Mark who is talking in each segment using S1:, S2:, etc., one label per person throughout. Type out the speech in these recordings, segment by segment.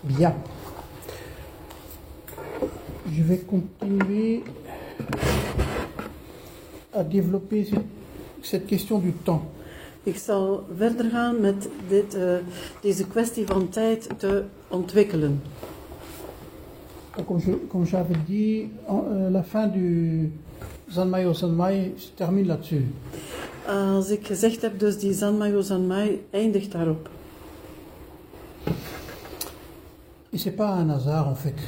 S1: Bien. Je vais continuer à développer ce- cette question du temps.
S2: Ik zal verder gaan met dit, eh, deze kwestie van tijd te ontwikkelen.
S1: Donc, Comme, je- comme j'avais dit, en- euh, la fin du Sanmai au Sanmai se termine là-dessus.
S2: Als ik gezegd heb, dus die Zanmayo Zanmai eindigt daarop.
S1: Et c'est pas un hasard en fait.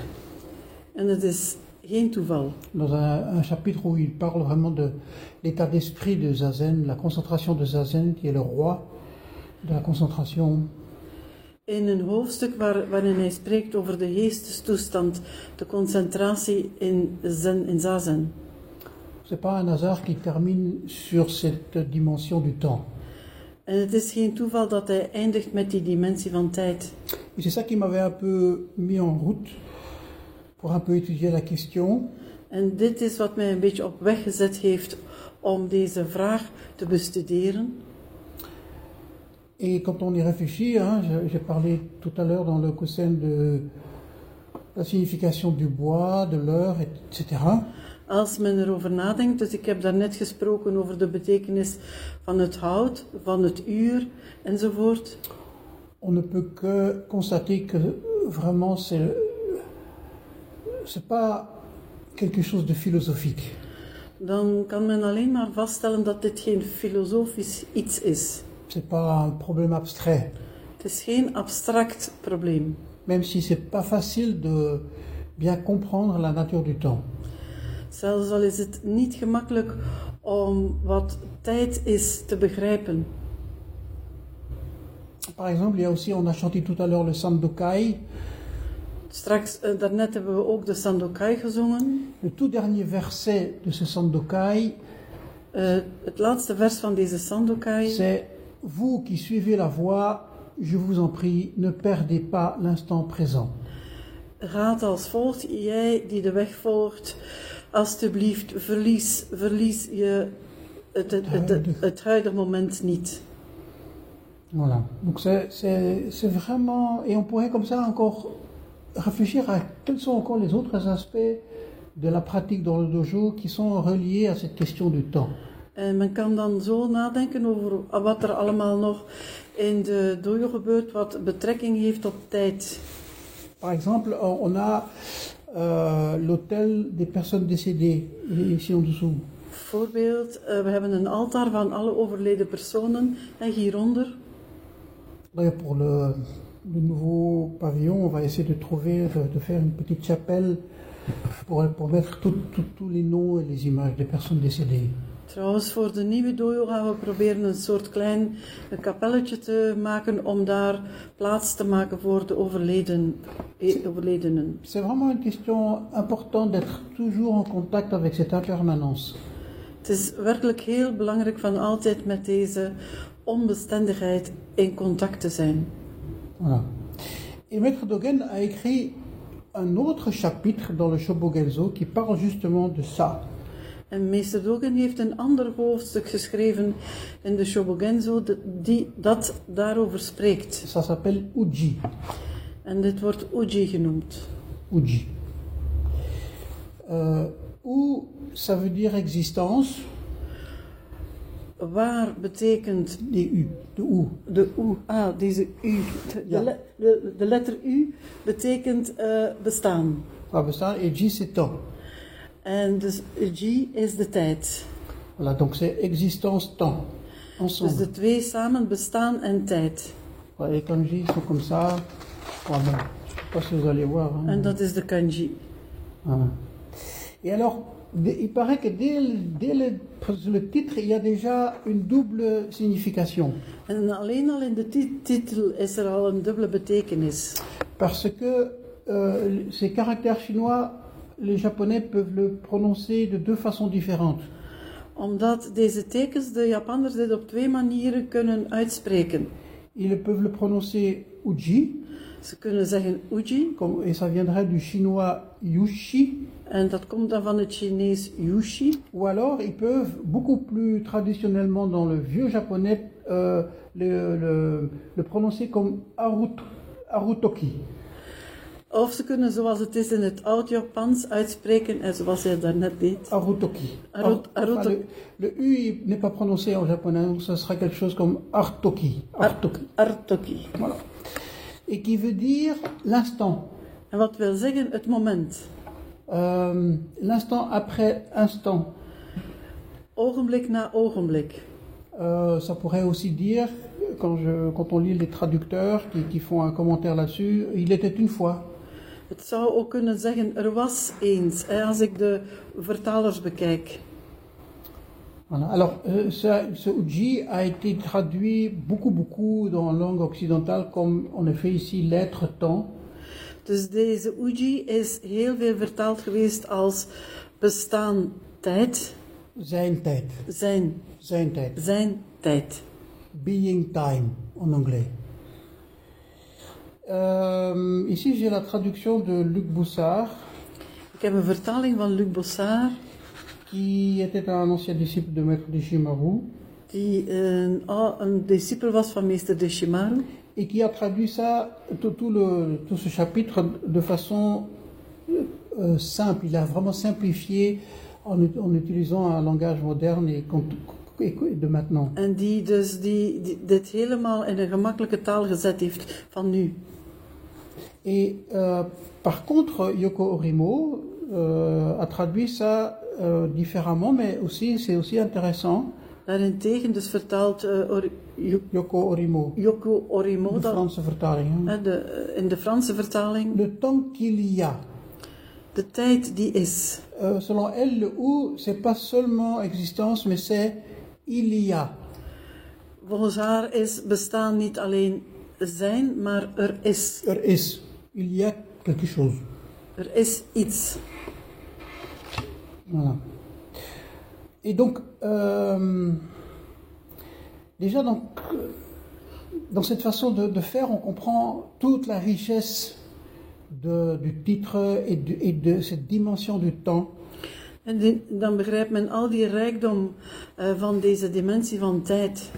S2: En het is geen toeval.
S1: Dans un, un chapitre où il parle vraiment de l'état d'esprit de Zazen, la concentration de Zazen qui est le roi de la concentration.
S2: In een hoofdstuk waar, waarin hij spreekt over de geestestoestand, de concentratie in zen, in zazen.
S1: C'est pas un hasard qui termine sur cette dimension du temps.
S2: En het is geen toeval dat hij eindigt met die dimensie van tijd.
S1: Et c'est ça qui m'avait un peu mis en route pour un peu étudier la question.
S2: En dit is wat mij een beetje op weg gezet heeft om deze vraag te bestuderen.
S1: Et quand on y réfléchit, hein, je- j'ai parlé tout à l'heure dans le Kosen de la signification du bois, de l'heure, etc.
S2: Als men erover nadenkt, dus ik heb daarnet gesproken over de betekenis van het hout, van het uur enzovoort.
S1: On ne peut que constater que vraiment c'est c'est pas quelque chose de philosophique.
S2: Dan kan men alleen maar vaststellen dat dit geen filosofisch iets is.
S1: C'est pas un problème abstrait.
S2: Het is geen abstract probleem.
S1: Même si c'est pas facile de bien comprendre la nature du temps.
S2: Zelfs al is het niet gemakkelijk om wat tijd is te begrijpen.
S1: Par exemple, il y a aussi, on a chanté tout à l'heure le Sandokai.
S2: Straks, eh, daarnet hebben we ook de Sandokai gezongen.
S1: Le tout dernier verset de ce Sandokai,
S2: Eh, het laatste vers van deze Sandokai
S1: c'est Vous qui suivez la voie, je vous en prie, ne perdez pas l'instant présent.
S2: gaat als volgt: Jij die de weg volgt, alstublieft, verlies, verlies je het, het, het, het, het huidige moment niet.
S1: Voilà. Donc c'est- c'est c'est vraiment. Et on pourrait comme ça encore réfléchir à quels sont encore les autres aspects de la pratique dans le dojo qui sont reliés à cette question du temps.
S2: En men kan dan zo nadenken over wat er allemaal nog in de dojo gebeurt, wat betrekking heeft op tijd.
S1: Par exemple, on a euh, l'hôtel des personnes décédées, ici en dessous.
S2: Bijvoorbeeld, eh, we hebben een altaar van alle overleden personen en hieronder.
S1: D'ailleurs, pour le, le nouveau pavillon, on va essayer de trouver, de, de faire une petite chapelle pour, pour mettre tout- tout- tous les noms et les images des personnes décédées.
S2: Trouwens, voor de nieuwe dojo gaan we proberen een soort klein eh, kapelletje te maken om daar plaats te maken voor de overleden, eh, overledenen.
S1: C'est vraiment une question importante d'être toujours en contact avec cette impermanence.
S2: Het is werkelijk heel belangrijk van altijd met deze onbestendigheid in contact te zijn.
S1: Voilà. Et Maître Dogen a écrit un autre chapitre dans le Shobogenzo qui parle justement de ça.
S2: En meester Dogen heeft een ander hoofdstuk geschreven in de Shobogenzo de- die dat daarover spreekt.
S1: Ça s'appelle Uji.
S2: En dit wordt Uji genoemd.
S1: Uji. Euh, ou ça veut dire existence
S2: Waar betekent
S1: des U, de ou.
S2: de U? Ah, deze U. De,
S1: Ja.
S2: le- de- de letter U betekent eh, bestaan.
S1: Ça bestaan et Ji c'est temps.
S2: En dus G is de tijd.
S1: Voilà, donc c'est existence, temps,
S2: Dus
S1: ensemble.
S2: de twee samen bestaan en tijd.
S1: Ouais, Les kanji sont comme ça. Ouais, bon, je sais pas si vous allez voir. hein.
S2: En dat is de kanji.
S1: Voilà. Et alors, dé- il paraît que dès, le- dès le, le titre, il y a déjà une double signification.
S2: En alleen al in de ti- titel is er al een dubbele betekenis.
S1: Parce que euh, ces caractères chinois, les Japonais peuvent le prononcer de deux façons différentes.
S2: Omdat deze tekens de Japanners dit op twee manieren kunnen uitspreken.
S1: Ils peuvent le prononcer uji,
S2: Ze kunnen zeggen uji,
S1: comme- et ça viendrait du chinois yushi,
S2: en dat komt dan van het Chinees yushi.
S1: ou alors ils peuvent, beaucoup plus traditionnellement dans le vieux japonais, euh, le, le- le prononcer comme arut- arutoki.
S2: Of ze kunnen zoals het is in het oud-Japans uitspreken, en zoals hij daarnet deed.
S1: Arutoki.
S2: Arut-
S1: Ar- enfin,
S2: Arutoki.
S1: le, le U il n'est pas prononcé en japonais, donc ça sera quelque chose comme Artoki. Artoki.
S2: Artoki.
S1: Voilà. Et qui veut dire l'instant.
S2: En wat wil zeggen het moment.
S1: Euh, l'instant après instant.
S2: Ogenblik na ogenblik.
S1: Euh, ça pourrait aussi dire, quand, je, quand on lit les traducteurs qui, qui font un commentaire là-dessus, il était une fois.
S2: Het zou ook kunnen zeggen, er was eens, hè, als ik de vertalers bekijk.
S1: Voilà. Alors, euh, ça- ce uji a été traduit beaucoup, beaucoup dans la langue occidentale comme, en effet, ici, l'être temps.
S2: Dus deze uji is heel veel vertaald geweest als bestaan tijd,
S1: Zijn tijd.
S2: zijn,
S1: Zijn tijd.
S2: zijn tijd.
S1: Being time, en anglais. Euh, ici, j'ai la traduction de Luc Boussard,
S2: Ik heb een vertaling van Luc Bossard,
S1: qui était un ancien disciple de Maître Dishimaru,
S2: die een, ou- een discipel was van meester Deshimaru.
S1: et qui a traduit ça, tout, tout le, tout ce chapitre, de façon euh, simple. Il a vraiment simplifié en, ut- en utilisant un langage moderne et, cont- et de maintenant.
S2: En die dus die, die- dit helemaal in een gemakkelijke taal gezet heeft van nu.
S1: Et euh, par contre, Yoko Orimo euh, a traduit ça euh, différemment, mais aussi c'est aussi intéressant.
S2: Daarentegen dus vertaalt eh, Or- Yo-
S1: Yoko Orimo,
S2: Yoko
S1: de
S2: Orimo dat-
S1: Franse vertaling. hè.
S2: hè, de, eh, in de Franse vertaling
S1: Le temps qu'il y a.
S2: de tijd die is.
S1: Euh, selon elle, le ou, c'est pas seulement existence, mais c'est il y a.
S2: Volgens haar is bestaan niet alleen zijn, maar er is.
S1: Er is. Il y a quelque chose.
S2: Er is iets.
S1: Voilà. Et donc, euh, déjà, donc, euh, dans cette façon de, de faire, on comprend toute la richesse de- du titre et, du- et de cette dimension du temps.
S2: En die- dan begrijpt men al die rijkdom eh, van deze dimensie van tijd.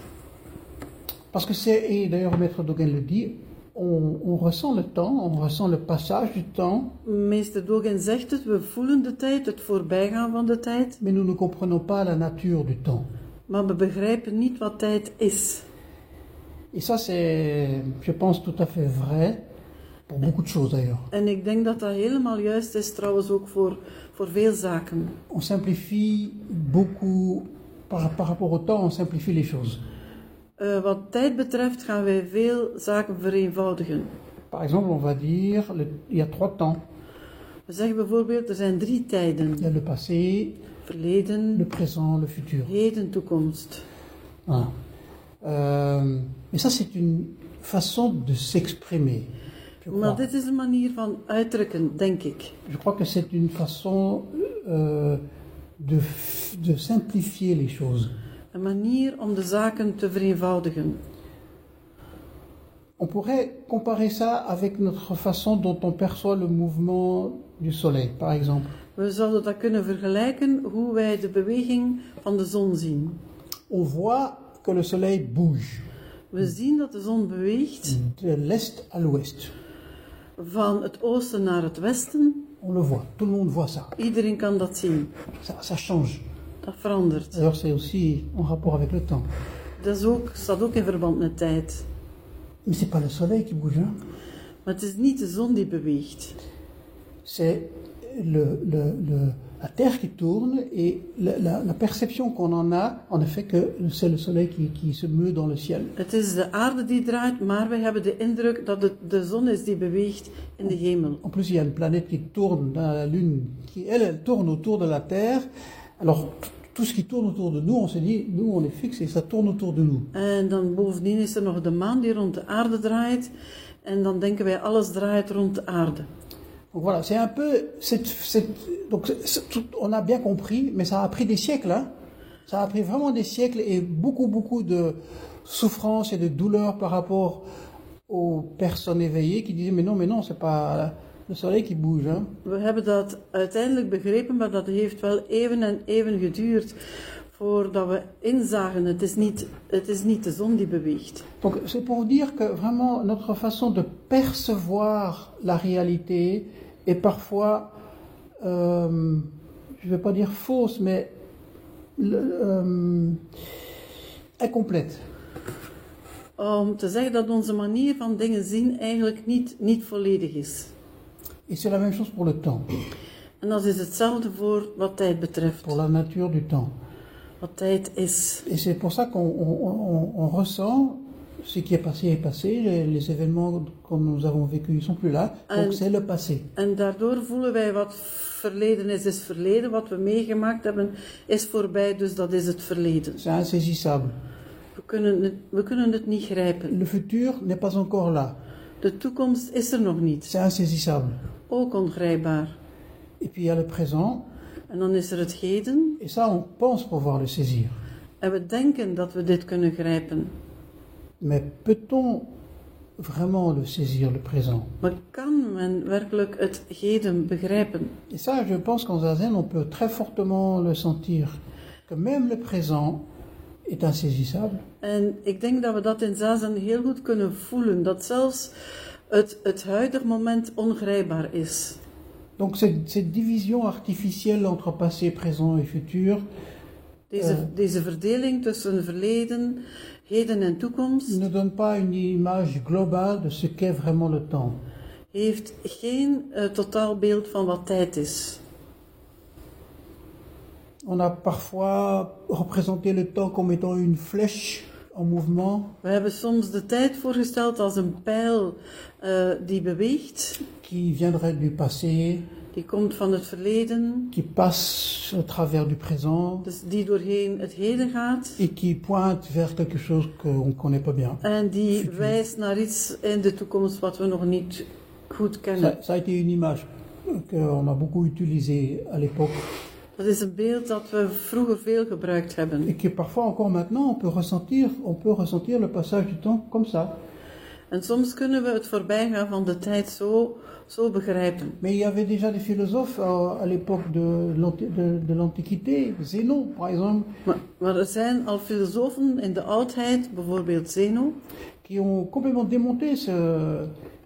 S1: Parce que c'est, et d'ailleurs Maître Dogen le dit, on, on ressent le temps, on ressent le passage du temps,
S2: Meester Dogen zegt het, we voelen de tijd, het voorbijgaan van de tijd,
S1: mais nous ne comprenons pas la nature du temps.
S2: maar we begrijpen niet wat tijd is.
S1: Et ça, c'est, je pense, tout à fait vrai pour beaucoup de choses d'ailleurs.
S2: En ik denk dat dat helemaal juist is, trouwens ook voor, voor veel zaken.
S1: On simplifie beaucoup par, par rapport au temps, on simplifie les choses.
S2: Eh, wat tijd betreft gaan wij veel zaken vereenvoudigen.
S1: Par exemple, on va dire le- il y a trois temps.
S2: We zeggen bijvoorbeeld, er zijn drie tijden.
S1: Il y a le passé,
S2: Verleden,
S1: le présent, le futur.
S2: heden, toekomst.
S1: Voilà. Euh, mais ça, c'est une façon de s'exprimer. Je
S2: Maar
S1: crois,
S2: dit is een manier van uitdrukken, denk ik.
S1: Je crois que c'est une façon euh, de, f- de simplifier les choses.
S2: Een manier om de zaken te vereenvoudigen.
S1: On pourrait comparer ça avec notre façon dont on perçoit le mouvement du soleil, par exemple.
S2: We zouden dat kunnen vergelijken hoe wij de beweging van de zon zien.
S1: On voit que le soleil bouge.
S2: We zien dat de zon beweegt
S1: de l'est à l'ouest.
S2: van het oosten naar het westen.
S1: On le voit, tout le monde voit ça.
S2: Iedereen kan dat zien.
S1: Ça, ça change.
S2: Dat verandert.
S1: D'ailleurs, c'est aussi en rapport avec le temps.
S2: Dat is ook, staat ook in verband met tijd.
S1: Mais c'est pas le soleil qui bouge, hein.
S2: Maar het is niet de zon die beweegt.
S1: c'est le- le- le- la Terre qui tourne et la, la- la perception qu'on en a, en effet, que c'est le soleil qui, qui se meut dans le ciel.
S2: Het is de aarde die draait, maar wij hebben de indruk dat het de zon is die beweegt in de hemel.
S1: En plus, il y a une planète qui tourne, dans la Lune, qui, elle, elle tourne autour de la Terre. Alors, t- tout ce qui tourne autour de nous, on se dit, nous, on est fixe et ça tourne autour de nous.
S2: En dan bovendien is er nog de maan die rond de aarde draait. En dan denken wij alles draait rond de aarde.
S1: Donc voilà, c'est un peu. cette- cette- donc c'est- c'est tout- on a bien compris, mais ça a pris des siècles. hein. Ça a pris vraiment des siècles et beaucoup, beaucoup de souffrances et de douleurs par rapport aux personnes éveillées qui disaient Mais non, mais non, c'est pas le soleil qui bouge. hein.
S2: We hebben dat uiteindelijk begrepen, maar dat heeft wel even en even geduurd voordat we inzagen, het is niet, het is niet de zon die beweegt.
S1: Donc c'est pour dire que vraiment notre façon de percevoir la réalité est parfois, euh, je ne vais pas dire fausse, mais le- euh, incomplète.
S2: Om te zeggen dat onze manier van dingen zien eigenlijk niet, niet volledig is.
S1: Et c'est la même chose pour le temps,
S2: En dat is hetzelfde voor wat tijd betreft.
S1: pour la nature du temps.
S2: Wat tijd is.
S1: Et c'est pour ça qu'on on- on- on ressent ce qui est passé est passé, les, les événements que nous avons vécus ne sont plus là,
S2: Euh,
S1: donc c'est le passé.
S2: En daardoor voelen wij wat verleden is, is verleden. Wat we meegemaakt hebben, is voorbij. Dus dat is het verleden.
S1: C'est insaisissable.
S2: We kunnen het, we kunnen het niet grijpen.
S1: Le futur n'est pas encore là,
S2: De toekomst is er nog niet.
S1: c'est insaisissable.
S2: Ook ongrijpbaar.
S1: Et puis il y a le présent,
S2: En dan is er het heden.
S1: et ça on pense pouvoir le saisir.
S2: En we denken dat we dit kunnen grijpen.
S1: Mais peut-on vraiment le saisir, le présent
S2: Maar kan men werkelijk het heden begrijpen?
S1: Et ça, je pense qu'en Zazen, on peut très fortement le sentir, que même le présent est insaisissable.
S2: En ik denk dat we dat in Zazen heel goed kunnen voelen. Dat zelfs het, het huidig moment ongrijpbaar is.
S1: Donc cette, cette division artificielle entre passé, présent et futur
S2: Deze,
S1: Ja.
S2: deze verdeling tussen verleden, heden en toekomst
S1: ne donne pas une image globale de ce qu'est vraiment le temps.
S2: heeft geen eh, totaalbeeld van wat tijd is.
S1: On a parfois représenté le temps comme étant une flèche en mouvement
S2: We hebben soms de tijd voorgesteld als een pijl eh, die beweegt,
S1: qui viendrait du passé,
S2: die komt van het verleden,
S1: qui passe au travers du présent
S2: dus die doorheen het heden gaat
S1: et qui pointe vers quelque chose qu'on ne connaît pas bien.
S2: en die wijst naar iets in de toekomst wat we nog niet goed kennen.
S1: Ça, ça a été une image qu'on a beaucoup utilisée à l'époque
S2: Dat is een beeld dat we vroeger veel gebruikt hebben.
S1: et que parfois encore maintenant on peut ressentir, on peut ressentir le passage du temps comme ça.
S2: En soms kunnen we het voorbijgaan van de tijd zo, zo begrijpen.
S1: Mais il y avait déjà des philosophes euh, à l'époque de l'anti- de- de l'Antiquité, Zénon par exemple,
S2: Maar, maar er zijn al filosofen in de oudheid, bijvoorbeeld Zeno,
S1: qui ont complètement démonté ce,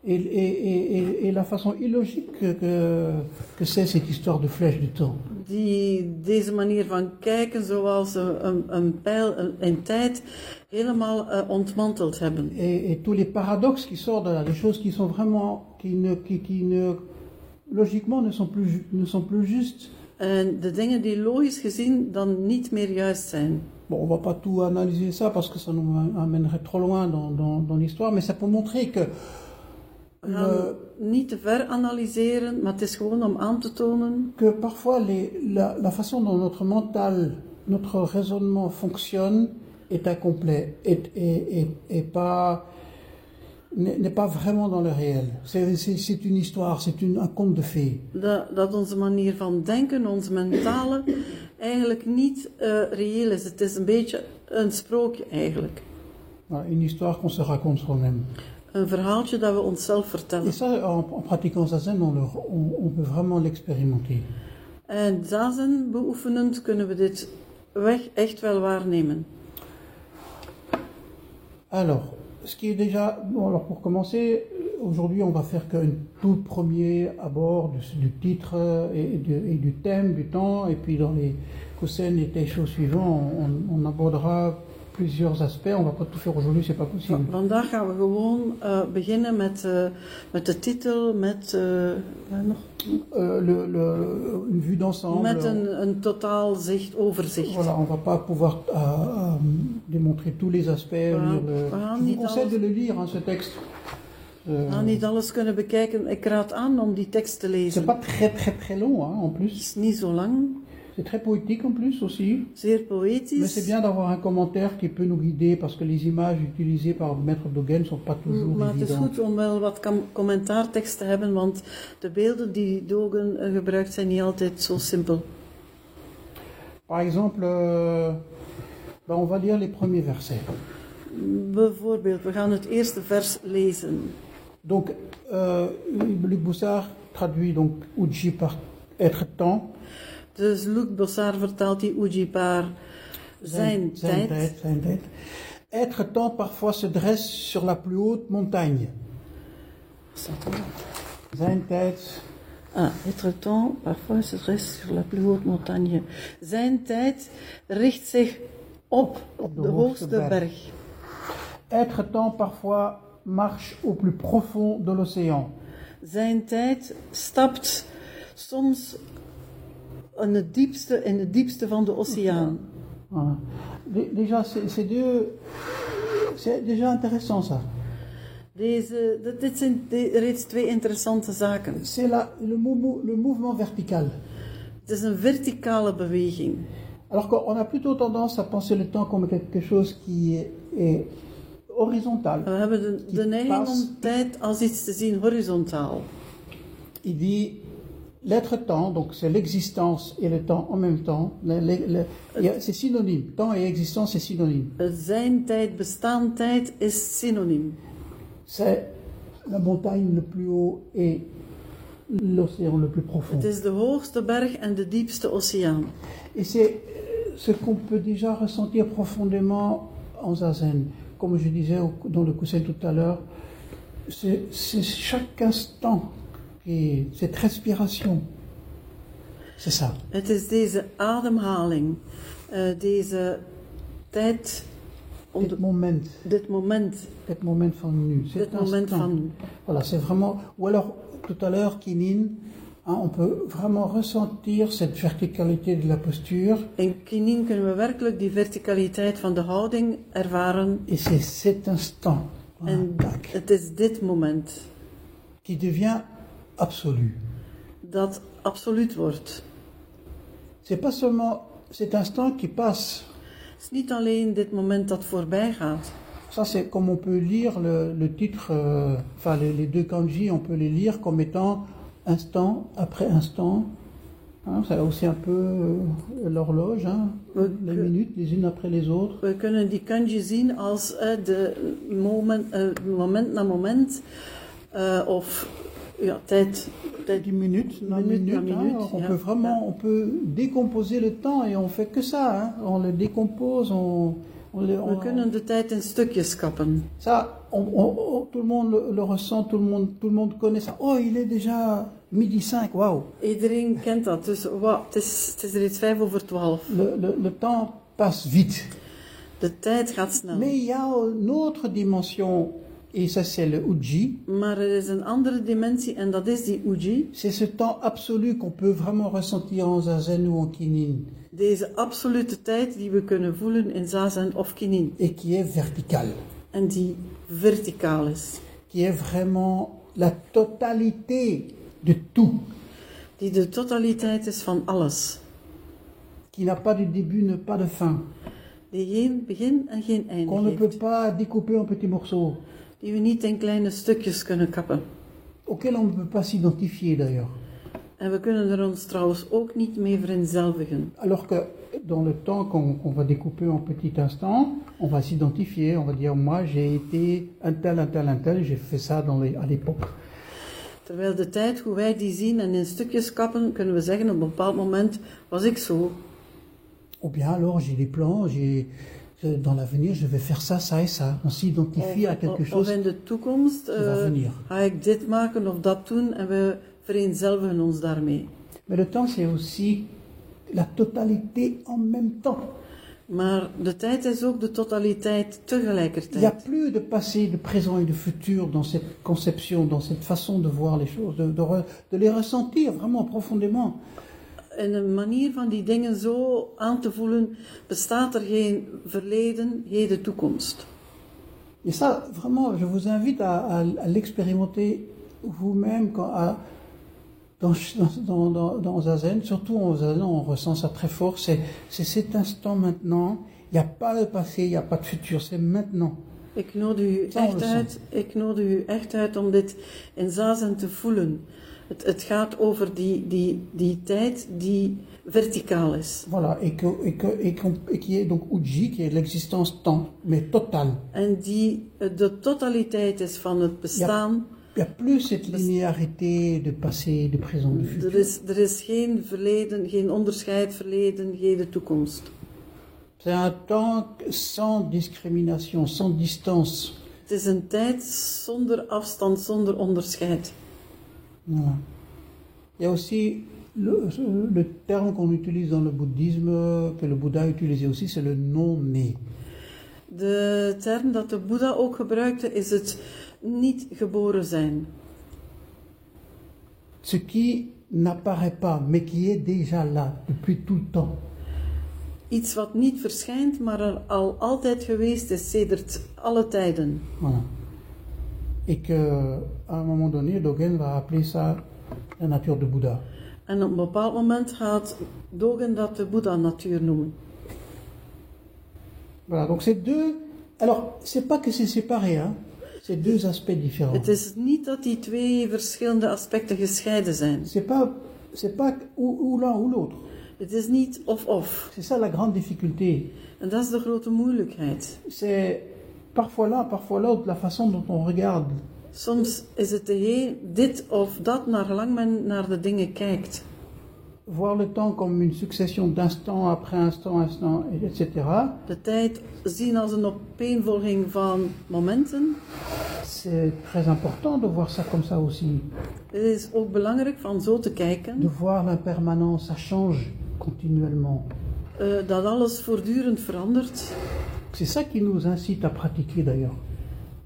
S1: et, et- et- et- et la façon illogique que, que- que c'est cette histoire de flèche du temps.
S2: die deze manier van kijken, zoals een, een, een pijl een- in tijd, helemaal eh, ontmanteld hebben.
S1: Et, et tous les paradoxes qui sortent de là, des choses qui sont vraiment, qui ne, qui, qui ne logiquement ne sont plus, ju- ne sont plus justes.
S2: En de dingen die logisch gezien dan niet meer juist zijn.
S1: Bon, on va pas tout analyser ça parce que ça nous amènerait trop loin dans, dans- dans l'histoire, mais ça peut montrer que
S2: We gaan
S1: le-
S2: niet te ver analyseren, maar het is gewoon om aan te tonen
S1: que parfois les- la, la façon dont notre mental, notre raisonnement fonctionne est incomplet, est, est- est- est pas n'est n'est pas vraiment dans le réel. C'est c'est- c'est une histoire, c'est une- un conte de fées.
S2: dat, dat onze manier van denken, ons mentale, eigenlijk niet eh, reëel is. Het is een beetje een sprookje eigenlijk.
S1: Voilà, une histoire qu'on se raconte soi-même.
S2: Een verhaaltje dat we onszelf
S1: Et
S2: vertellen.
S1: ça, en, en pratiquant Zazen, on, le- on- on peut vraiment l'expérimenter.
S2: En zazen beoefenend kunnen we dit weg echt wel waarnemen.
S1: Alors, ce qui est déjà... Bon, alors pour commencer, aujourd'hui, on va faire qu'un tout premier abord du, du titre euh, et, de- et du thème, du temps, et puis dans les Kusen et les choses suivantes, on, on abordera plusieurs aspects. On va pas tout faire aujourd'hui, c'est pas possible.
S2: Vandaag gaan we gewoon eh, beginnen met, eh, met de titel, met, eh, wat nog?
S1: Euh, le- le- une vue d'ensemble... Euh,
S2: met een, een totaal zicht, overzicht.
S1: Voilà, on va pas pouvoir euh, euh, démontrer tous les aspects.
S2: Voilà.
S1: lire le-
S2: Voilà,
S1: Je vous
S2: ni dans-
S1: conseille de le lire, hein, ce texte. Euh,
S2: We gaan niet alles kunnen bekijken. Ik raad aan om die tekst te lezen.
S1: C'est pas très très très long hein, en
S2: Het
S1: plus.
S2: is niet zo lang,
S1: C'est très poétique en plus aussi.
S2: zeer
S1: Mais c'est
S2: poëtisch.
S1: bien d'avoir un commentaire qui peut nous guider parce que les images utilisées par Maître Dogen ne sont pas toujours
S2: Mm, Maar het is
S1: évidentes.
S2: goed om wel wat kam- commentaartekst te hebben, want de beelden die Dogen eh, gebruikt zijn niet altijd zo simpel.
S1: Par exemple, euh, ben, on va lire les premiers versets.
S2: Bijvoorbeeld, we gaan het eerste vers lezen.
S1: Donc, euh, Luc Boussard traduit donc Uji par être temps.
S2: Dus Luc Bossard vertaalt die Ujipar Zijn
S1: Zijn
S2: tijd.
S1: tijd, zijn tijd. Être temps parfois se dresse sur la plus haute montagne.
S2: Staat er.
S1: Zijn tijd,
S2: Ah, être temps, parfois se reste sur la plus haute montagne. Zijn tijd richt zich op, op de,
S1: de hoogste
S2: hoogste berg.
S1: berg. être temps parfois marche au plus profond de l'océan.
S2: Zijn tijd stapt soms in het diepste, in het diepste van de oceaan.
S1: Voilà. Dé- Déjà, c'est c'est deux- c'est déjà intéressant ça.
S2: Deze, dit- dit zijn de- reeds twee interessante zaken.
S1: C'est la- le, mou- le mouvement vertical.
S2: Het is een verticale beweging.
S1: Alors qu'on a plutôt tendance à penser le temps comme quelque chose qui est, est
S2: We
S1: horizontal.
S2: hebben de, de neiging
S1: pas-
S2: om tijd als iets te zien horizontaal.
S1: Il dit l'être-temps, donc c'est l'existence et le temps en même temps. Le- le- le- il y a- C'est synonyme. Temps et existence, c'est synonyme.
S2: Het Zijn tijd, bestaan tijd is synoniem.
S1: C'est la montagne le plus haut et l'océan le plus profond.
S2: Het is de hoogste berg en de diepste oceaan.
S1: Et c'est euh, ce qu'on peut déjà ressentir profondément en zazen. Comme je disais au- dans le coussin tout à l'heure, c'est c'est chaque instant, et cette respiration. C'est ça.
S2: Het is deze ademhaling, eh, deze tijd, om
S1: Cet
S2: de-
S1: moment,
S2: dit moment,
S1: cet moment van nu.
S2: dit
S1: Cet
S2: moment
S1: instant.
S2: van nu.
S1: Voilà, c'est vraiment. Ou alors, tout à l'heure, Kinin, hein, on peut vraiment ressentir cette verticalité de la posture.
S2: In Kinin kunnen we werkelijk die verticaliteit van de houding ervaren.
S1: Et c'est cet instant voilà,
S2: En
S1: tac,
S2: het is dit moment
S1: qui devient absolu.
S2: dat absoluut wordt.
S1: C'est pas seulement cet instant qui passe.
S2: Het is niet alleen dit moment dat voorbij gaat.
S1: Ça, c'est comme on peut lire le, le titre, euh, enfin les, les deux kanji, on peut les lire comme étant instant après instant. Hein, c'est aussi un peu euh, l'horloge, hein,
S2: We,
S1: les minutes les unes après les autres.
S2: we kunnen die kanji zien als eh, de moment, eh, moment na moment eh, of ja, tijd, tijd
S1: Des minutes, la
S2: Minute,
S1: minute,
S2: la
S1: hein,
S2: minute,
S1: on
S2: yeah,
S1: peut vraiment, on peut décomposer le temps et on fait que ça. hein, on le décompose, on, on le,
S2: We
S1: on-
S2: kunnen de tijd in stukjes kappen.
S1: Ça, on- on- on- tout le monde le, le ressent, tout le monde, tout le monde connaît ça. Oh, il est déjà midi 5, waouh
S2: Iedereen kent dat, dus wauw, het, is, het is reeds vijf over twaalf.
S1: le, le- le temps passe vite.
S2: De tijd gaat snel.
S1: Mais il y a une autre dimension, et ça c'est le Uji,
S2: Maar er is een andere dimensie en dat is die uji.
S1: c'est ce temps absolu qu'on peut vraiment ressentir en zazen ou en kinin,
S2: Deze absolute tijd die we kunnen voelen in zazen of kinin.
S1: et qui est vertical,
S2: En die verticaal is.
S1: qui est vraiment la totalité de tout,
S2: Die de totaliteit is van alles.
S1: qui n'a pas de début, n'a pas de fin,
S2: Die geen begin en geen einde
S1: qu'on ne peut
S2: heeft.
S1: pas découper en petits morceaux,
S2: Die we niet in kleine stukjes kunnen kappen.
S1: auquel on ne peut pas s'identifier d'ailleurs.
S2: En we kunnen er ons trouwens ook niet mee vereenzelvigen.
S1: Alors que dans le temps qu'on qu'on va découper en petits instants, on va s'identifier, on va dire moi j'ai été un tel, un tel, un tel, j'ai fait ça dans les- à l'époque.
S2: Terwijl de tijd, hoe wij die zien en in stukjes kappen, kunnen we zeggen op een bepaald moment was ik zo.
S1: Ou bien alors j'ai des plans, j'ai je- dans l'avenir je vais faire ça, ça et ça. On s'identifie à quelque
S2: Of, of
S1: chose.
S2: in de toekomst eh,
S1: va venir.
S2: ga ik dit maken of dat doen en we vereenzelvigen ons daarmee.
S1: Mais le temps c'est aussi la totalité en même temps.
S2: Maar de tijd is ook de totaliteit
S1: Il n'y a
S2: tegelijkertijd.
S1: plus de passé, de présent et de futur dans cette conception, dans cette façon de voir les choses, de, de re- de les ressentir vraiment profondément.
S2: In een manier van die dingen zo aan te voelen, bestaat er geen verleden, heden, toekomst.
S1: Et ça, vraiment, je vous invite à, à- à l'expérimenter vous-même quand- à- dans, dans, dans, dans Zazen. Surtout en Zazen, on ressent ça très fort. C'est c'est cet instant maintenant. Il n'y a pas de passé, il n'y a pas de futur. C'est maintenant.
S2: Ik nodig u
S1: Zal
S2: echt
S1: we zo.
S2: uit, ik nodig u echt uit om dit in zazen te voelen. Het, het gaat over die, die, die tijd die verticaal is.
S1: Voilà. Et que et que et qu'on- et qui est donc Uji, qui est l'existence temps, mais totale.
S2: En die eh, de totaliteit is van het bestaan.
S1: Il n'y a plus cette linéarité de passé, de présent, de futur.
S2: Er, is, er is geen verleden, geen onderscheid verleden, geen toekomst.
S1: C'est un temps sans discrimination, sans distance.
S2: Het is een tijd zonder afstand, zonder onderscheid.
S1: Voilà. Il y a aussi le, le terme qu'on utilise dans le bouddhisme, que le Bouddha utilisait aussi, c'est le non-né.
S2: De term dat de Boeddha ook gebruikte is het niet geboren zijn.
S1: Ce qui n'apparaît pas, mais qui est déjà là depuis tout le temps.
S2: Iets wat niet verschijnt, maar er al altijd geweest is sedert alle tijden.
S1: Voilà. Et que, à un moment donné, Dogen va appeler ça la nature de Bouddha.
S2: En op een bepaald moment gaat Dogen dat de Boeddha-natuur noemen.
S1: Voilà, donc ces deux. Alors, c'est pas que c'est séparé, hein. C'est deux aspects différents.
S2: Het is niet dat die twee verschillende aspecten gescheiden zijn.
S1: C'est pas, c'est pas ou, ou l'un ou l'autre.
S2: Het is niet of-of.
S1: C'est ça la grande difficulté.
S2: En dat is de grote moeilijkheid.
S1: C'est parfois l'un, parfois l'autre, la façon dont on regarde.
S2: Soms is het de heel dit of dat, naar gelang men naar de dingen kijkt.
S1: Voir le temps comme une succession d'instants après instant, instant, etc.
S2: De tijd zien als een opeenvolging van momenten.
S1: C'est très important de voir ça comme ça aussi.
S2: Het is ook belangrijk van zo te kijken
S1: De voir l'impermanence, ça change continuellement.
S2: eh, dat alles voortdurend verandert.
S1: C'est ça qui nous incite à pratiquer d'ailleurs.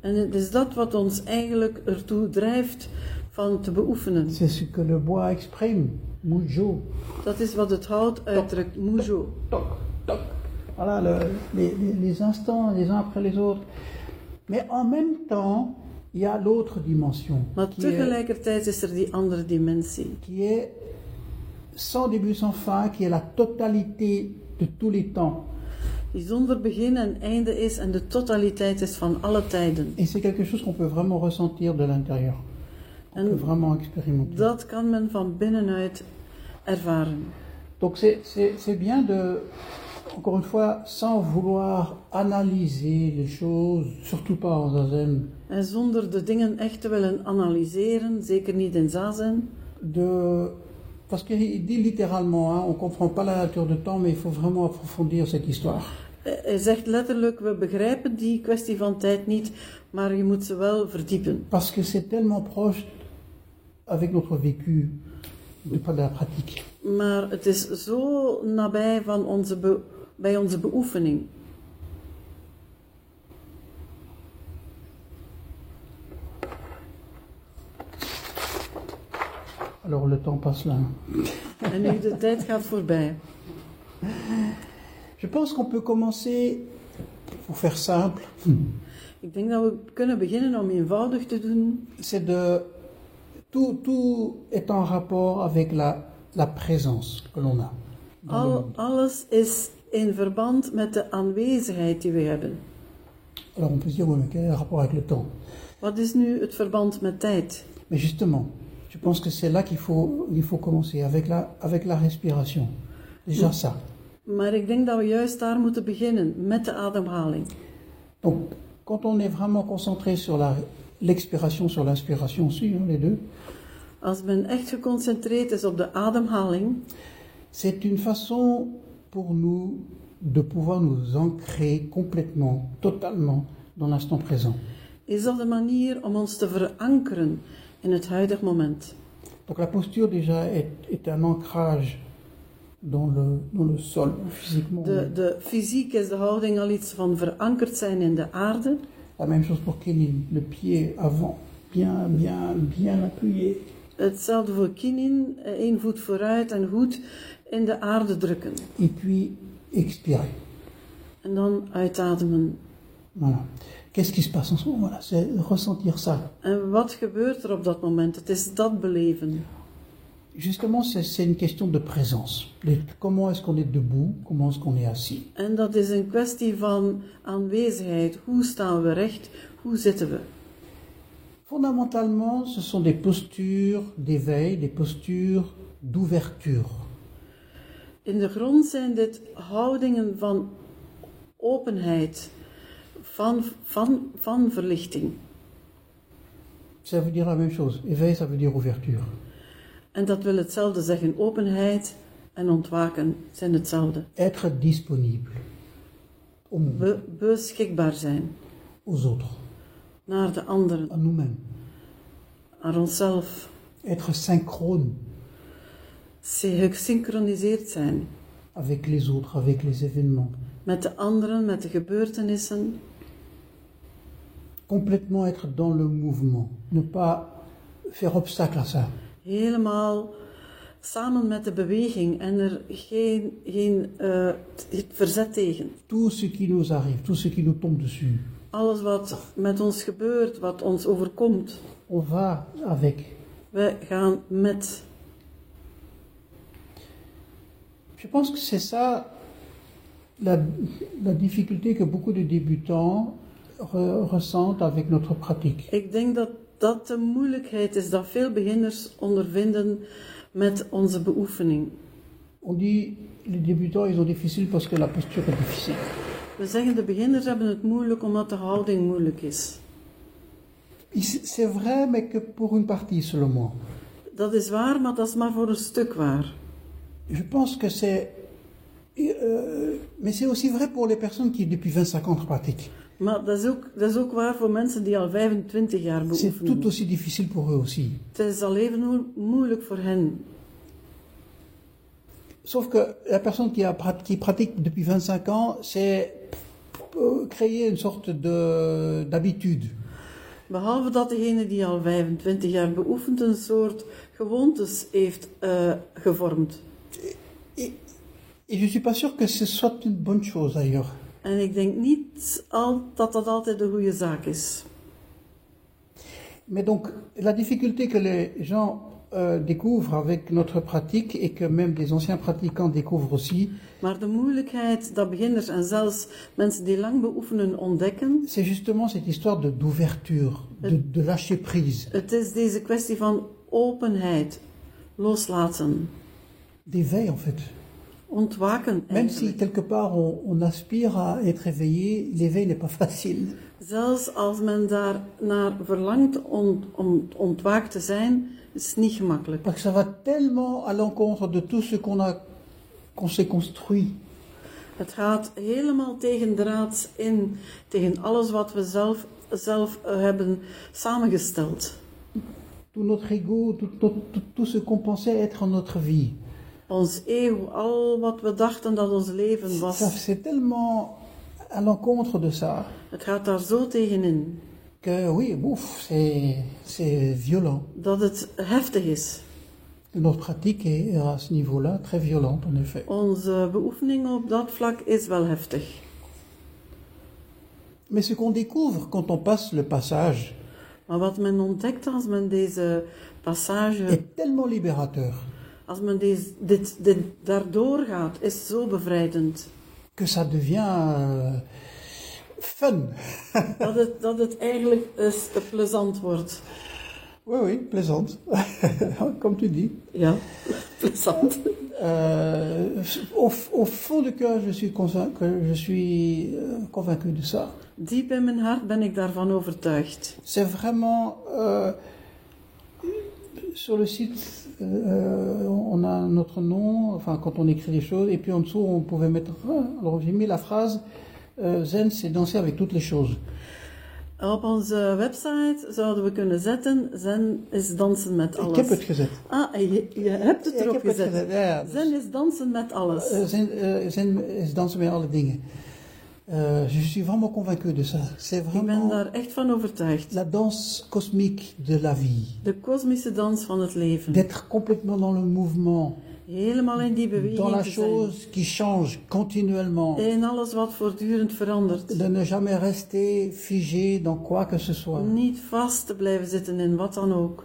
S2: En het is dat wat ons eigenlijk ertoe drijft van te beoefenen.
S1: C'est ce que le bois exprime, Mujo.
S2: Dat is wat het hout uitdrukt, moezo.
S1: Toc, toc. Voilà le- les, les- les instants les uns après les autres. Mais en même temps, il y a l'autre dimension
S2: Maar
S1: qui est,
S2: tegelijkertijd is er die andere dimensie.
S1: qui est sans début, sans fin, qui est la totalité de tous les temps.
S2: Die zonder begin en einde is en de totaliteit is van alle tijden.
S1: Et c'est quelque chose qu'on peut vraiment ressentir de l'intérieur, qu'on
S2: En-
S1: peut vraiment expérimenter.
S2: Dat kan men van binnenuit ervaren.
S1: Donc c'est- c'est c'est bien de, encore une fois, sans vouloir analyser les choses, surtout pas en zazen,
S2: En zonder de dingen echt te willen analyseren, zeker niet in zazen,
S1: de... Parce qu'il dit littéralement, hein, on ne comprend pas la nature du temps, mais il faut vraiment approfondir cette histoire.
S2: eh, hij zegt letterlijk, we begrijpen die kwestie van tijd niet, maar je moet ze wel verdiepen.
S1: Parce que c'est tellement proche avec notre vécu de, de la pratique.
S2: Maar het is zo nabij van onze be- bij onze beoefening.
S1: Alors le temps passe là.
S2: En nu de tijd gaat voorbij.
S1: Je pense qu'on peut commencer, pour faire simple,
S2: Ik denk dat we kunnen beginnen om eenvoudig te doen.
S1: c'est de... Tout, tout est en rapport avec la, la présence que l'on a. dans le
S2: Al,
S1: monde.
S2: alles is in verband met de aanwezigheid die we hebben.
S1: Alors on peut se dire, oui, mais quel est le rapport avec le temps
S2: Wat is nu het verband met tijd?
S1: Mais justement, je pense que c'est là qu'il faut, il faut commencer, avec la, avec la respiration. Déjà ça.
S2: Maar ik denk dat we juist daar moeten beginnen, met de ademhaling.
S1: Donc, quand on est vraiment concentré sur la- l'expiration, sur l'inspiration aussi, hein, les deux,
S2: Als men echt geconcentreerd is op de ademhaling,
S1: c'est une façon pour nous de pouvoir nous ancrer complètement, totalement dans l'instant présent.
S2: is dat de manier om ons te verankeren in het huidig moment.
S1: Donc la posture déjà est, est un ancrage dans le, dans le sol, physiquement.
S2: De, de fysiek is de houding al iets van verankerd zijn in de aarde.
S1: La même chose pour Kenin, le pied avant, bien, bien, bien appuyé.
S2: Hetzelfde voor kinin, eh, één voet vooruit en goed in de aarde drukken.
S1: et puis expirer.
S2: En dan uitademen.
S1: Voilà. Qu'est-ce qui se passe en ce moment Voilà, c'est ressentir ça.
S2: En wat gebeurt er op dat moment? Het is dat beleven.
S1: Justement, c'est c'est une question de présence. Les- comment est-ce qu'on est debout Comment est-ce qu'on est assis
S2: En dat is een kwestie van aanwezigheid. Hoe staan we recht? Hoe zitten we?
S1: Fondamentalement, ce sont des postures d'éveil, des postures d'ouverture.
S2: In de grond zijn dit houdingen van openheid, van, van, van verlichting.
S1: Ça veut dire la même chose. Éveil, ça veut dire ouverture.
S2: En dat wil hetzelfde zeggen. Openheid en ontwaken zijn hetzelfde.
S1: Être disponible. om
S2: be- beschikbaar zijn
S1: aux autres,
S2: naar de anderen,
S1: à nous-mêmes.
S2: naar onszelf.
S1: Être synchrone
S2: Ze- Gesynchroniseerd zijn
S1: avec les autres, avec les événements.
S2: met de anderen, met de gebeurtenissen.
S1: Complètement être dans le mouvement. Ne pas faire obstacle à ça.
S2: Helemaal samen met de beweging en er geen, geen eh, t- het verzet tegen.
S1: Tout ce qui nous arrive, tout ce qui nous tombe dessus,
S2: Alles wat met ons gebeurt, wat ons overkomt,
S1: on va avec.
S2: wij gaan met.
S1: Je pense que c'est ça la, la difficulté que beaucoup de débutants re- ressentent avec notre pratique.
S2: Ik denk dat dat de moeilijkheid is dat veel beginners ondervinden met onze beoefening.
S1: On dit les débutants, ils ont difficile parce que la posture est difficile.
S2: We zeggen de beginners hebben het moeilijk omdat de houding moeilijk is.
S1: Et C'est c'est vrai, mais que pour une partie seulement.
S2: Dat is waar, maar dat is maar voor een stuk waar.
S1: Je pense que c'est... et, euh, mais c'est aussi vrai pour les personnes qui, depuis 25 ans, pratiquent.
S2: Maar dat is ook, dat is ook waar voor mensen die al 25 jaar
S1: C'est
S2: beoefenen.
S1: tout aussi difficile pour eux aussi.
S2: Het is al even hoe- moeilijk voor hen.
S1: Sauf que la personne qui, a, prat- qui pratique depuis 25 ans, c'est euh, créer une sorte de- d'habitude.
S2: Behalve dat degene die al 25 jaar beoefent een soort gewoontes heeft eh, gevormd.
S1: Et je suis pas sûr que ce soit une bonne chose d'ailleurs.
S2: En ik denk niet al, dat dat altijd de goede zaak is.
S1: Mais donc, la difficulté que les gens euh, découvrent avec notre pratique et que même des anciens pratiquants découvrent aussi,
S2: Maar de moeilijkheid dat beginners en zelfs mensen die lang beoefenen ontdekken,
S1: c'est justement cette histoire de- d'ouverture, de, de lâcher prise,
S2: het is deze kwestie van openheid, loslaten,
S1: d'éveil en fait.
S2: ontwaken
S1: Même si
S2: eigenlijk.
S1: quelque part on, on aspire à être éveillé, l'éveil n'est pas facile.
S2: Zelfs als men daar naar verlangt om, om ontwaakt te zijn, is het niet gemakkelijk.
S1: Parce que ça va tellement à l'encontre de tout ce qu'on a, qu'on s'est construit.
S2: Het gaat helemaal tegen draads in, tegen alles wat we zelf, zelf eh, hebben samengesteld.
S1: Tout notre ego, tout, tout- tout- tout ce qu'on pensait être notre vie.
S2: Ons eeuw, al wat we dachten dat ons leven
S1: Ça,
S2: was,
S1: c'est tellement à l'encontre de ça
S2: het gaat daar zo tegenin
S1: que oui, ouf, c'est, c'est violent.
S2: dat het heftig is.
S1: Notre pratique est à ce niveau-là très violente en effet.
S2: Onze beoefening op dat vlak is wel heftig.
S1: Mais ce qu'on découvre quand on passe le passage
S2: Maar wat men ontdekt als men deze passage,
S1: est tellement libérateur
S2: als men deze, dit, dit daardoor gaat, is zo bevrijdend.
S1: que ça devient euh, fun.
S2: Dat het, dat het eigenlijk is, eh, plezant wordt.
S1: Oui, oui, plaisante, comme tu dis.
S2: Ja, plezant.
S1: Euh, au, au fond du cœur, je suis, convaincu, je suis euh, convaincu de ça.
S2: Diep in mijn hart ben ik daarvan overtuigd.
S1: C'est vraiment euh, sur le site, euh, on a notre nom, enfin quand on écrit des choses, et puis en dessous on pouvait mettre. hein, Alors j'ai mis la phrase euh, Zen, c'est danser avec toutes les choses.
S2: Op onze website zouden we kunnen zetten: Zen is dansen met
S1: Ik heb
S2: alles.
S1: het gezet.
S2: Ah, en je, je hebt het
S1: Ik
S2: erop
S1: heb het gezet.
S2: gezet.
S1: Ja, dus,
S2: Zen is dansen met alles.
S1: eh, Ah, zen, eh, zen is dansen met alle dingen. Euh, je suis vraiment convaincu de ça. C'est
S2: Ik ben
S1: vraiment
S2: daar echt van overtuigd.
S1: la danse cosmique de la vie.
S2: De kosmische dans van het leven.
S1: D'être complètement dans le mouvement,
S2: Helemaal in die
S1: dans
S2: beweging
S1: la
S2: te zijn.
S1: chose qui change continuellement.
S2: In alles wat voortdurend verandert.
S1: de ne jamais rester figé dans quoi que ce soit.
S2: Niet vast te blijven zitten in wat dan ook.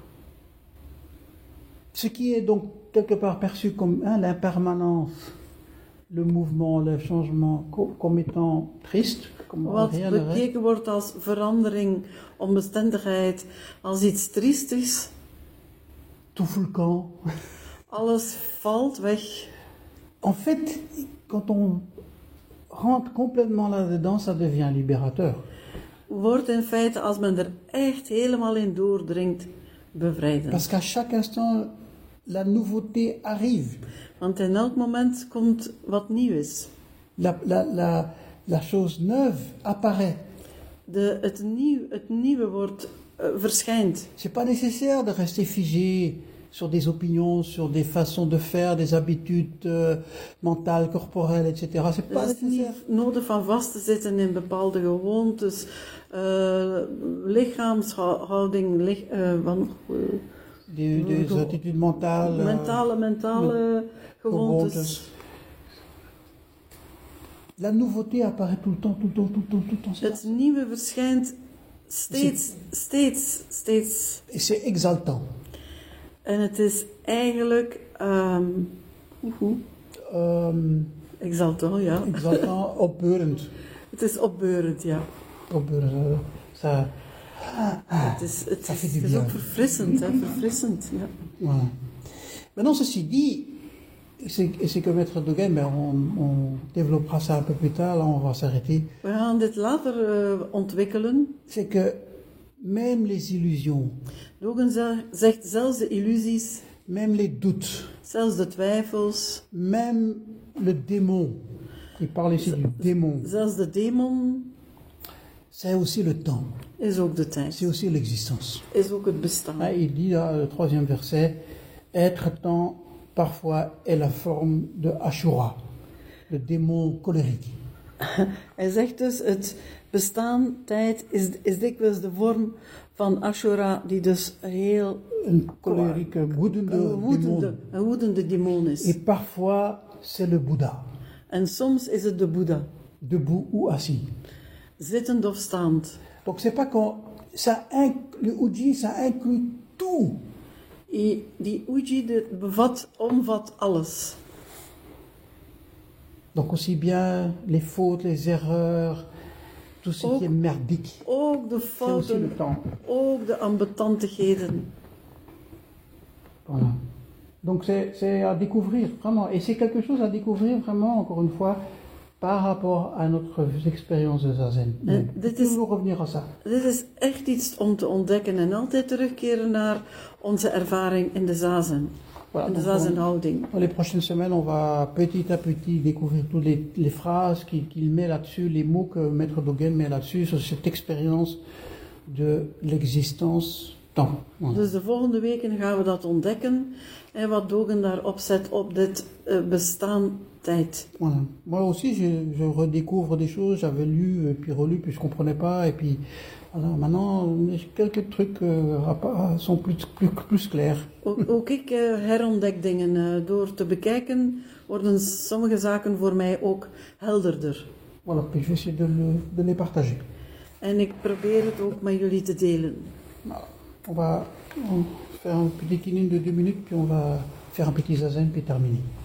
S1: Ce qui est donc quelque part perçu comme hein, l'impermanence, le mouvement, le changement, co- comme étant triste, comme
S2: Wat
S1: rien de reste.
S2: bekeken wordt als verandering, onbestendigheid, als iets triestigs.
S1: Tout fout le camp.
S2: Alles valt weg.
S1: En fait, quand on rentre complètement là-dedans, ça devient libérateur.
S2: wordt in feite, als men er echt helemaal in doordringt, bevrijdend.
S1: Parce qu'à chaque instant, la nouveauté arrive.
S2: Want in elk moment komt wat nieuw is.
S1: La, la- la- la chose neuve apparaît.
S2: De, het, nieuw, het nieuwe wordt, eh, verschijnt.
S1: C'est pas nécessaire de rester figé sur des opinions, sur des façons de faire, des habitudes euh, mentales, corporelles, etc. C'est
S2: Dus
S1: pas
S2: het is
S1: nécessaire.
S2: niet nodig van vast te zitten in bepaalde gewoontes, eh, lichaamshouding, lich, eh, van, eh,
S1: Des, des
S2: Go-
S1: attitudes mentales. euh,
S2: mentale, mentale gewoontes.
S1: gewoontes. La nouveauté apparaît tout le temps, tout le temps, tout le temps, tout le temps. C'est
S2: Het nieuwe verschijnt steeds, steeds, steeds.
S1: Et c'est exaltant.
S2: En het is eigenlijk ehm hoe?
S1: Euh,
S2: exaltant, ja.
S1: exaltant, opbeurend.
S2: Het is opbeurend, ja.
S1: Opbeurend, euh, Ça,
S2: Het is, het
S1: Dat
S2: is,
S1: vind ik
S2: het is ook
S1: leuk.
S2: verfrissend, hè. Verfrissend, ja.
S1: voilà. Maintenant, ceci dit, c'est et c'est que Maître Dogen, ben, on, on développera ça un peu plus tard, là on va s'arrêter.
S2: We gaan dit later eh, ontwikkelen.
S1: C'est que même les illusions,
S2: Dogen ze- zegt zelfs de illusies,
S1: même les doutes,
S2: zelfs de twijfels,
S1: même le démon, il parle ici du démon,
S2: zelfs de demon
S1: c'est aussi le temps,
S2: is ook de tijd.
S1: c'est aussi l'existence.
S2: Is ook het
S1: Hein,
S2: bestaan.
S1: il dit dans le troisième verset, être temps parfois est la forme de Ashura, le démon colérique.
S2: Hij zegt dus, het bestaan, tijd, is, is dikwijls de vorm van Ashura, die dus heel
S1: Een colérique, woedende
S2: een woedende,
S1: démon.
S2: een woedende demon
S1: Et
S2: is.
S1: parfois, c'est le Bouddha,
S2: En soms is het de Boeddha,
S1: debout ou assis.
S2: zittend of staand.
S1: Donc c'est pas qu'on... Ça inc- le Uji, ça inclut tout.
S2: I- Die Uji dit bevat, omvat alles.
S1: Donc aussi bien les fautes, les erreurs, tout ce
S2: Oh.
S1: qui est merdique.
S2: Ook de
S1: C'est aussi le
S2: fouten,
S1: temps.
S2: ook de ambetantigheden.
S1: Voilà. Donc c'est c'est à découvrir, vraiment. Et c'est quelque chose à découvrir, vraiment, encore une fois, par rapport à notre expérience de Zazen.
S2: Eh,
S1: Donc,
S2: dit is-
S1: Toujours revenir à ça.
S2: Dit is echt iets om te ontdekken en altijd terugkeren naar onze ervaring in de zazen.
S1: Voilà,
S2: In de
S1: donc, on-
S2: zazenhouding.
S1: Dans les prochaines semaines, on va petit à petit découvrir toutes les, les phrases qu'il qu'il met là-dessus, les mots que Maître Dogen met là-dessus, sur cette expérience de l'existence-temps. Voilà.
S2: Dus de volgende weken gaan we dat ontdekken en wat Dogen daarop zet op dit eh, bestaan tijd.
S1: Voilà. Moi aussi, je, je redécouvre des choses, j'avais lu, et puis relu, puis je comprenais pas, et puis voilà, maintenant, quelques trucs euh, rappa- sont plus, plus, plus clairs.
S2: Ook, ook ik eh, herontdek dingen. eh, door te bekijken worden sommige zaken voor mij ook helderder.
S1: Voilà, puis je vais essayer de, le- de les partager.
S2: En ik probeer het ook met jullie te delen.
S1: On va on va faire un petit kinin de deux minutes, puis on va faire un petit zazen, puis terminer.